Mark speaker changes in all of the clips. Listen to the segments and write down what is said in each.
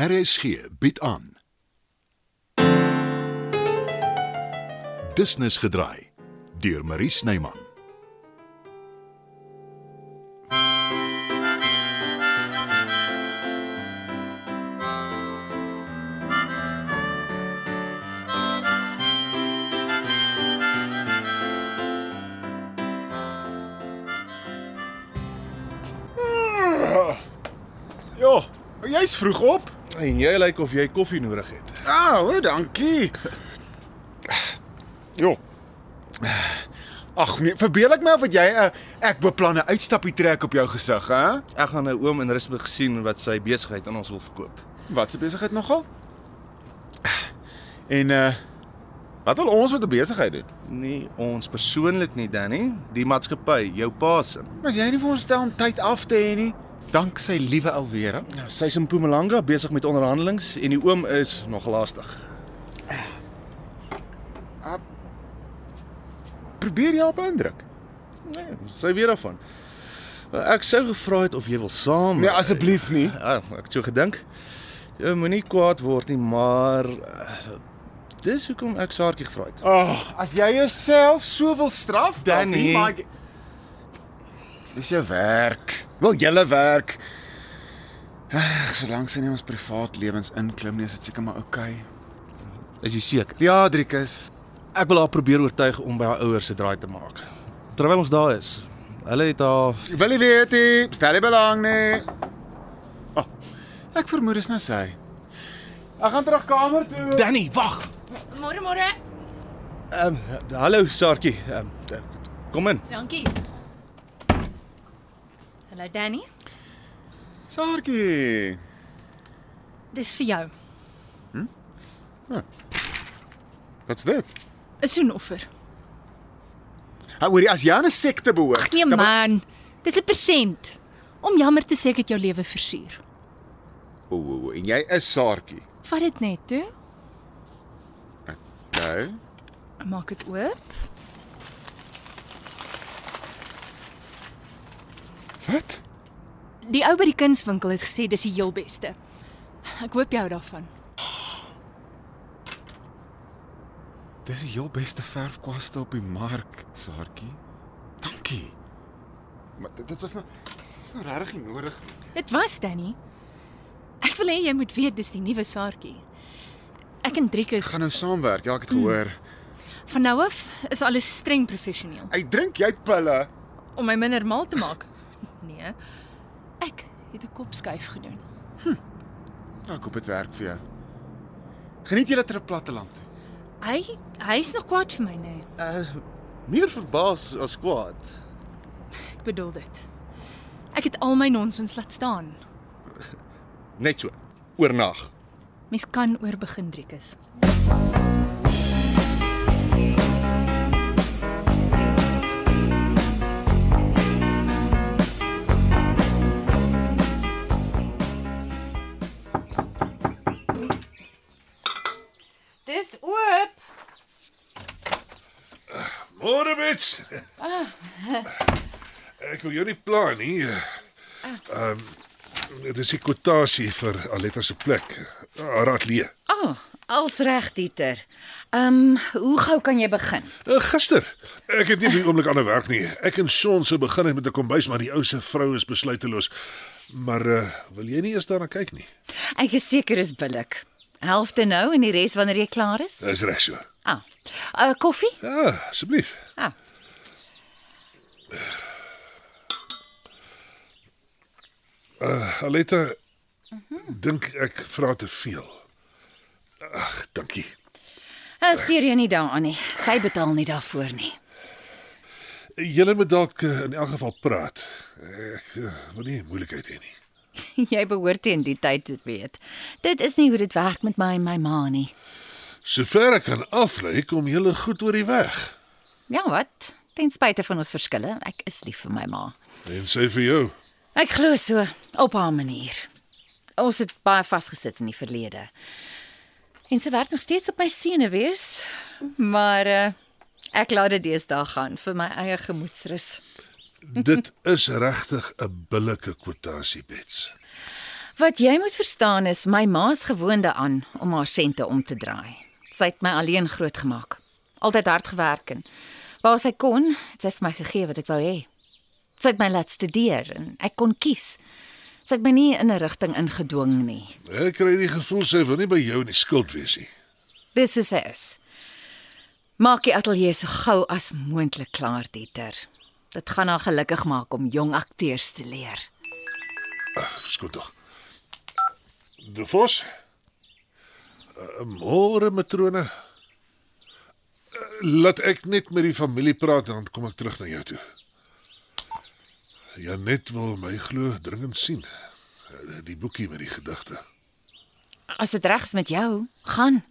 Speaker 1: RSG bied aan. Business gedraai deur Marie Snyman.
Speaker 2: Ja, jy's vroeg op.
Speaker 3: En jy lyk of jy koffie nodig het.
Speaker 2: Ah, o, dankie. Jo. Ag nee, verbeel ek my of dat jy 'n ek beplan 'n uitstappie trek op jou gesig, hè?
Speaker 3: Ek gaan 'n oom in Risburg sien wat sy besigheid aan ons wil verkoop.
Speaker 2: Wat se besigheid nogal? En uh wat wil ons met 'n besigheid doen?
Speaker 3: Nie ons persoonlik nie, Danny, die maatskappy, jou pa se.
Speaker 2: Was jy nie voorstel om tyd af te hê nie? Dank sy liewe Alwera.
Speaker 3: Nou, sy's in Mpumalanga besig met onderhandelinge en die oom is nog laastig.
Speaker 2: Probeer jou op indruk.
Speaker 3: Nee, sy weet daarvan. Eh, Ek sou gevra het of jy wil saam.
Speaker 2: Nee, asseblief nie.
Speaker 3: Ah, ek het so gedink. Jy moenie kwaad word nie, maar eh, dis hoekom ek Saartjie gevra het.
Speaker 2: Ag, as jy jouself so wil straf,
Speaker 3: Danny.
Speaker 2: Danny, dis jou werk. Wel julle werk. Ag, solank sy nie ons privaat lewens inklim nie, is dit seker maar oukei. Okay.
Speaker 3: Is jy seker?
Speaker 2: Ja, Driekus.
Speaker 3: Ek wil haar probeer oortuig om by haar ouers se draai te maak. Terwyl ons daar is, hulle het haar
Speaker 2: Wil jy weet, nie, stel nie belang nie. Oh, ek vermoed dis nou sy. Ek gaan terug kamer toe.
Speaker 3: Danny, wag.
Speaker 4: Môre môre.
Speaker 3: Ehm um, hallo Saartjie. Ehm um, kom in.
Speaker 4: Dankie. Hallo Danny.
Speaker 2: Saartjie.
Speaker 4: Dis vir jou.
Speaker 2: Wat's dit?
Speaker 4: 'n Soenoffer.
Speaker 2: Ha, hoorie, as jy aan 'n sekte behoort,
Speaker 4: Nee
Speaker 2: dan-
Speaker 4: man, dis 'n persent. Om jammer te sê ek het jou lewe versuur.
Speaker 2: O, o, o, en jy is Saartjie.
Speaker 4: Vat dit net toe.
Speaker 2: Nou.
Speaker 4: Maak dit oop.
Speaker 2: Wat?
Speaker 4: Die ou by die kunswinkel het gesê dis die heel beste. Ek hoop jy hou daarvan.
Speaker 2: Dis die heel beste verfkwaste op die mark, Saartjie. Dankie. Maar dit, dit was nou dit was nou regtig nie nodig nie.
Speaker 4: Dit was Danny. Ek wil hê jy moet weet dis die nuwe saartjie. Ek en
Speaker 2: Ek
Speaker 4: Driekus
Speaker 2: gaan nou saamwerk. Ja, ek het gehoor.
Speaker 4: van nou af is alles streng professioneel.
Speaker 2: Hy drink jy pille.
Speaker 4: om my minder mal te maak. Nee. Ek het 'n kopskuif gedoen.
Speaker 2: Nou, ek hoop dit werk vir jou. Geniet julle ter platteland.
Speaker 4: Hy hy's nog kwaad vir my nee. nê.
Speaker 3: Uh meer verbaas as kwaad.
Speaker 4: Ek bedoel dit. Ek het al my nonsens laat staan.
Speaker 3: Net so. Oornag.
Speaker 4: Mens kan oor begin driekus.
Speaker 5: Dis oop.
Speaker 6: Môre Bets. Ah. Ek wil jou nie pla nie. Ehm um, dis 'n kwotasie vir Aletta se plek, haar ateljee.
Speaker 5: Ah, oh, als reg Dieter. Ehm, um, hoe gou kan jy begin?
Speaker 6: Uh, gister. Ek het nie by die oomblik ander werk nie. Ek en Sean se begin het met 'n kombuis, maar die ou se vrou is besluiteloos. Maar uh, wil jy nie eers daarna kyk nie?
Speaker 5: Ek is seker is billik. Helfte nou en die res wanneer jy klaar is.
Speaker 6: Dis reg so.
Speaker 5: Ah. Uh, koffie?
Speaker 6: Ja, asseblief.
Speaker 5: Ah.
Speaker 6: Aletta dink ek vra te veel. Ag, dankie.
Speaker 5: Uh, stuur jy nie daaraan nie. Sy betaal nie daarvoor nie.
Speaker 6: Julle moet dalk eh, in elk geval praat. Ek eh, wil nie moeilikheid hê nie.
Speaker 5: jy behoort teen die tyd te weet. Dit is nie hoe dit werk met my en my ma nie.
Speaker 6: Sover ek kan aflei, kom julle goed oor die weg.
Speaker 5: Ja, wat? Ten spyte van ons verskille, ek is lief vir my ma.
Speaker 6: En sê vir jou,
Speaker 5: Ek glo so op haar manier. Ons het baie vasgesit in die verlede. En sy werk nog steeds op my senuwees, maar uh, ek laat dit deesdae gaan vir my eie gemoedsrus.
Speaker 6: dit is regtig 'n billike kwotasie bets.
Speaker 5: Wat jy moet verstaan is my ma's gewoonde aan om haar sente om te draai. Sy het my alleen grootgemaak. Altyd hard gewerk en waar sy kon, het sy vir my gegee wat ek wou hê. Sy het my laat studeer en ek kon kies. Sy het my nie in 'n rigting ingedwing nie.
Speaker 6: Ek kry die gevoel sy wil nie by jou in die skuld wees nie.
Speaker 5: Dis hoe sy is. Maak die ateljee so gou as moontlik klaar, Dieter. Dit gaan haar gelukkig maak om jong akteurs te leer.
Speaker 6: Skoon tog. De Vos. Eh, Môre matrone. Eh, Laat ek net met die familie praat en dan kom ek terug na jou toe. Janet wil my glo dringend sien. Eh, Die boekie met die gedigte.
Speaker 5: As dit regs met jou gaan.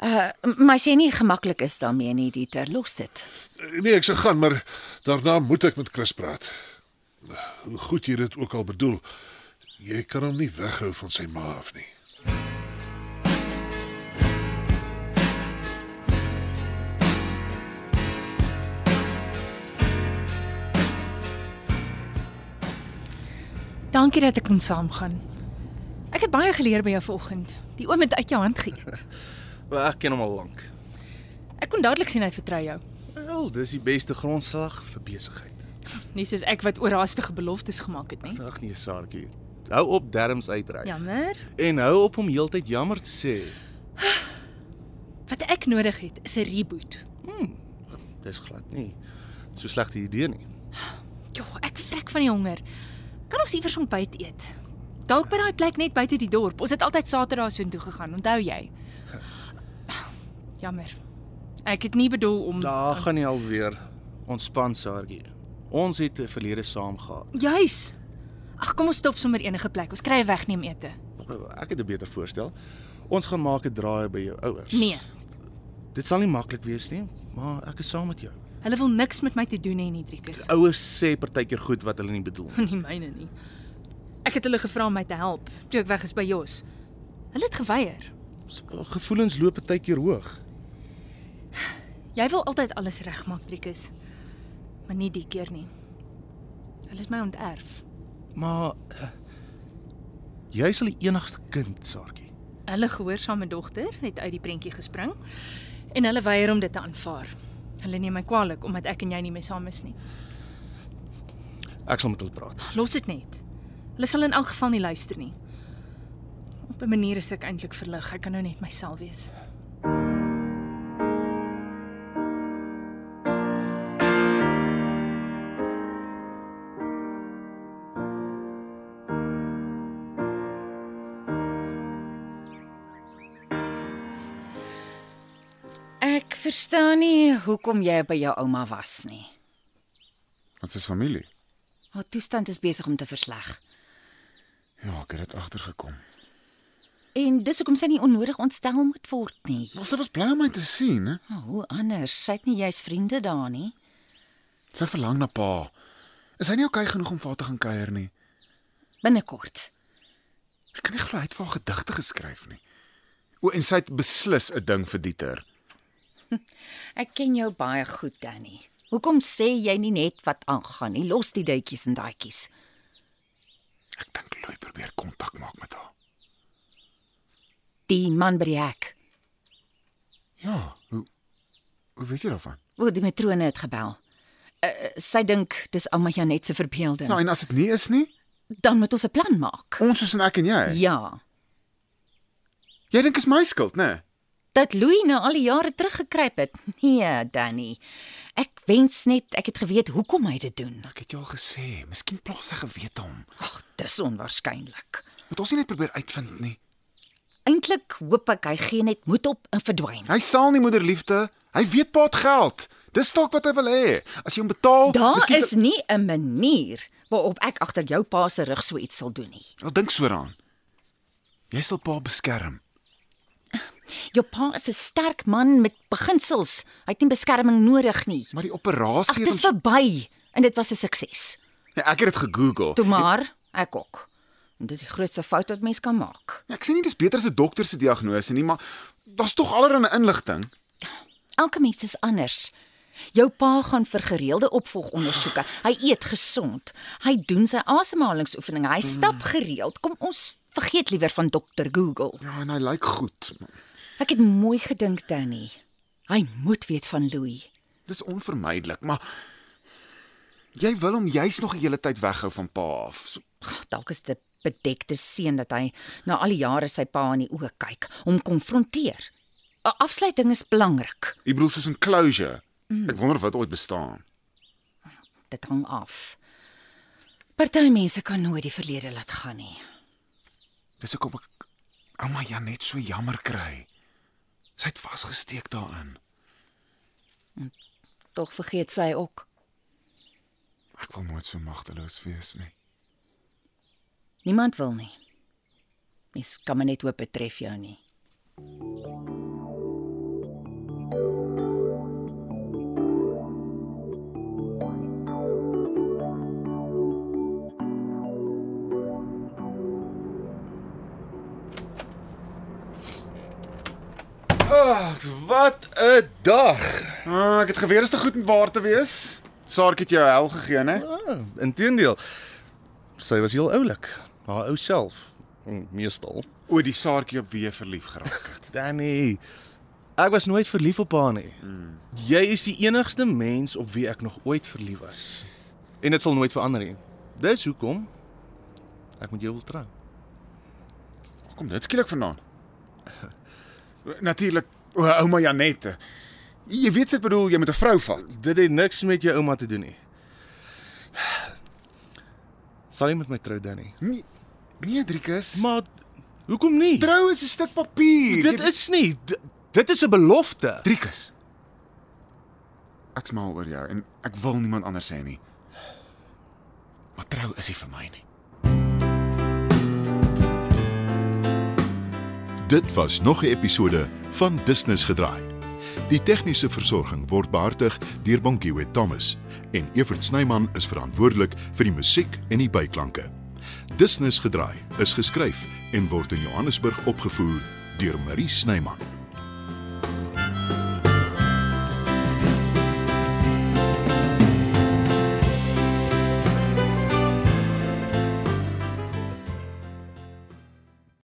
Speaker 5: Uh, maar as jy nie gemaklik is daarmee nie, Dieter, los dit.
Speaker 6: Eh, Nee, ek sal gaan, maar daarna moet ek met Chris praat. Eh, Hoe goed jy dit ook al bedoel, jy kan hom nie weghou van sy ma af nie.
Speaker 4: Dankie dat ek kon saamgaan. Ek het baie geleer by jou vanoggend. Die oom het uit jou hand geëet.
Speaker 3: Maar ek ken hom al lank.
Speaker 4: Ek kon dadelik sien hy vertrou jou.
Speaker 3: Wel, dis die beste grondslag vir besigheid.
Speaker 4: Nie soos ek wat oorhaastige beloftes gemaak het nie.
Speaker 3: Ag nee, Saartjie. Hou op derms uitry.
Speaker 4: Jammer.
Speaker 3: En hou op om heeltyd jammer te sê.
Speaker 4: Wat ek nodig het is 'n reboot.
Speaker 3: Dis glad nie so slegte idee nie.
Speaker 4: Jo, ek vrek van die honger. Kan ons iewers ontbyt eet? Dalk by daai plek net buite die dorp. Ons het altyd Saterdae soontoe gegaan, onthou jy? Jammer. Ek het nie bedoel om
Speaker 3: Daar gaan nie alweer. Ontspan, Saartjie. Ons het 'n verlede saam gehad.
Speaker 4: Juis. Ag, kom ons stop sommer enige plek. Ons kry 'n wegneem ete.
Speaker 3: Ek het 'n beter voorstel. Ons gaan maak 'n draai by jou ouers.
Speaker 4: Nee,
Speaker 3: Dit sal nie maklik wees nie, maar ek is saam met jou.
Speaker 4: hulle wil niks met my te doen hê nie, Driekus.
Speaker 3: Ouers sê partykeer goed wat hulle nie bedoel nie.
Speaker 4: Nie myne nie. Ek het hulle gevra om my te help toe ek weg is by Jos. Hulle het geweier.
Speaker 3: S- Gevoelens loop partykeer hoog.
Speaker 4: Jy wil altyd alles regmaak, Driekus. Maar nie die keer nie. Hulle het my onterf.
Speaker 3: Maar eh, jy is al die enigste kind, Saartjie.
Speaker 4: Hulle gehoorsame dogter het uit die prentjie gespring en hulle weier om dit te aanvaar. Hulle neem my kwaadlik omdat ek en jy nie meer saam is nie.
Speaker 3: Ek sal met hulle praat.
Speaker 4: Los dit net. Hulle sal in elk geval nie luister nie. Op 'n manier is ek eintlik verlig. Ek kan nou net myself wees.
Speaker 5: Ek verstaan nie hoekom jy by jou ouma was nie.
Speaker 2: Wat is familie?
Speaker 5: Haar toestand is besig om te versleg.
Speaker 2: Ja, ek het dit agtergekom.
Speaker 5: En dis hoekom sy nie onnodig ontstel moet word nie.
Speaker 2: Wel, sy was bly om my te sien, hè?
Speaker 5: Oh, hoe anders? Sy het nie juis vriende daar nie.
Speaker 2: Sy verlang na pa. Is hy nie okay genoeg om vir haar te gaan kuier nie?
Speaker 5: Binnekort.
Speaker 2: Ek kan nie glo hy het vir haar gedigte geskryf nie. O, en sy het beslis 'n ding vir Dieter.
Speaker 5: Ek ken jou baie goed, Danny. Hoekom sê jy nie net wat aangaan nie? Los die duitjies en daadjies.
Speaker 2: Ek dink Lui probeer kontak maak met haar.
Speaker 5: Die man by die hek.
Speaker 2: Ja, hoe hoe weet jy daarvan?
Speaker 5: O, die matrone het gebel. Uh, sy dink dis ouma Janet se verbeelding.
Speaker 2: Nou en as dit nie is nie,
Speaker 5: Dan moet ons 'n plan maak.
Speaker 2: ons is en ek en jy.
Speaker 5: Ja.
Speaker 2: Jy dink is my skuld, né? Nee?
Speaker 5: Dat Louis na al die jare teruggekruip het. Nee, Danny. Ek wens net ek het geweet hoekom hy dit doen.
Speaker 2: Ek het jou al gesê, miskien plaas hy gewete hom.
Speaker 5: Ag, dis onwaarskynlik.
Speaker 2: Moet ons nie net probeer uitvind nie.
Speaker 5: Eintlik hoop ek hy gee net moed op en verdwyn.
Speaker 2: Hy sal nie moederliefde. Hy weet pa het geld. Dis dalk wat hy wil hê. As jy hom betaal,
Speaker 5: Daar
Speaker 2: miskien
Speaker 5: is nie 'n manier waarop ek agter jou pa se rug so iets sal doen nie.
Speaker 2: Wel Nou, dink so daaraan. Jy sal pa beskerm.
Speaker 5: Jou pa is 'n sterk man met beginsels. Hy het nie beskerming nodig nie.
Speaker 2: Maar die
Speaker 5: Ag,
Speaker 2: operasie
Speaker 5: dis verby en dit was 'n sukses.
Speaker 2: Nee, ek het dit gegoogel.
Speaker 5: Toe maar, ek ook. En dis die grootste fout wat mens kan maak.
Speaker 2: Ja, Ek sê nie dis beter as 'n dokter se diagnose nie, maar daar's tog allerlei inligting.
Speaker 5: Elke mens is anders. Jou pa gaan vir gereelde opvolgondersoeke. Hy eet gesond. Hy doen sy asemhalingsoefeninge. Hy stap gereeld. Kom ons vergeet liewer van dokter Google.
Speaker 2: Ja, en hy lyk goed.
Speaker 5: Ek het mooi gedink, Danny. Hy moet weet van Louis.
Speaker 2: Dis onvermydelik, maar jy wil hom juis nog 'n hele tyd weghou van pa af. So,
Speaker 5: Ag, Dalk is dit 'n bedekte seën dat hy na al die jare sy pa in die oë kyk, hom konfronteer. 'n Afsluiting is belangrik.
Speaker 2: Ek bedoel soos 'n closure. Ek wonder wat ooit bestaan.
Speaker 5: Dit hang af. Party mense kan nooit die verlede laat gaan nie.
Speaker 2: Dis hoekom ek ouma Janet so jammer kry. Sy het vasgesteek daarin.
Speaker 5: Tog vergeet sy ook.
Speaker 2: Ek wil nooit so magteloos wees nie.
Speaker 5: Niemand wil nie. Mens kan maar net hoop dit tref jou nie.
Speaker 3: Ag, wat 'n dag.
Speaker 2: Ah, ek het geweet is te goed om waar te wees. Saartjie het jou hel gegee, né?
Speaker 3: Ah, Inteendeel. Sy was heel oulik, haar ou self, mm, meestal.
Speaker 2: O, die saartjie op wie jy verlief geraak het.
Speaker 3: Danny, ek was nooit verlief op haar nie. Jy is die enigste mens op wie ek nog ooit verlief was. En dit sal nooit verander nie. Dis hoekom ek met jou wil trou.
Speaker 2: Waar Kom dit skielik vandaan. Natuurlik o, ouma Janet. Jy weet wat ek bedoel, jy moet 'n vrou vat.
Speaker 3: Dit het niks met jou ouma te doen nie. Sal jy met my trou, Danny?
Speaker 2: Nee, nee Driekus.
Speaker 3: Maar hoekom nie?
Speaker 2: Trou is 'n stuk papier.
Speaker 3: Dit is nie dit- dit is 'n belofte.
Speaker 2: Driekus. Ek's mal oor jou en ek wil niemand anders hê nie. Maar trou is nie vir my nie.
Speaker 6: Dit was nog 'n episode van Business gedraai. Die tegniese versorging word behartig deur Bonnie Witt Thomas en Evert Snyman is verantwoordelik vir die musiek en die byklanke. Business gedraai is geskryf en word in Johannesburg opgevoer deur Marie Snyman.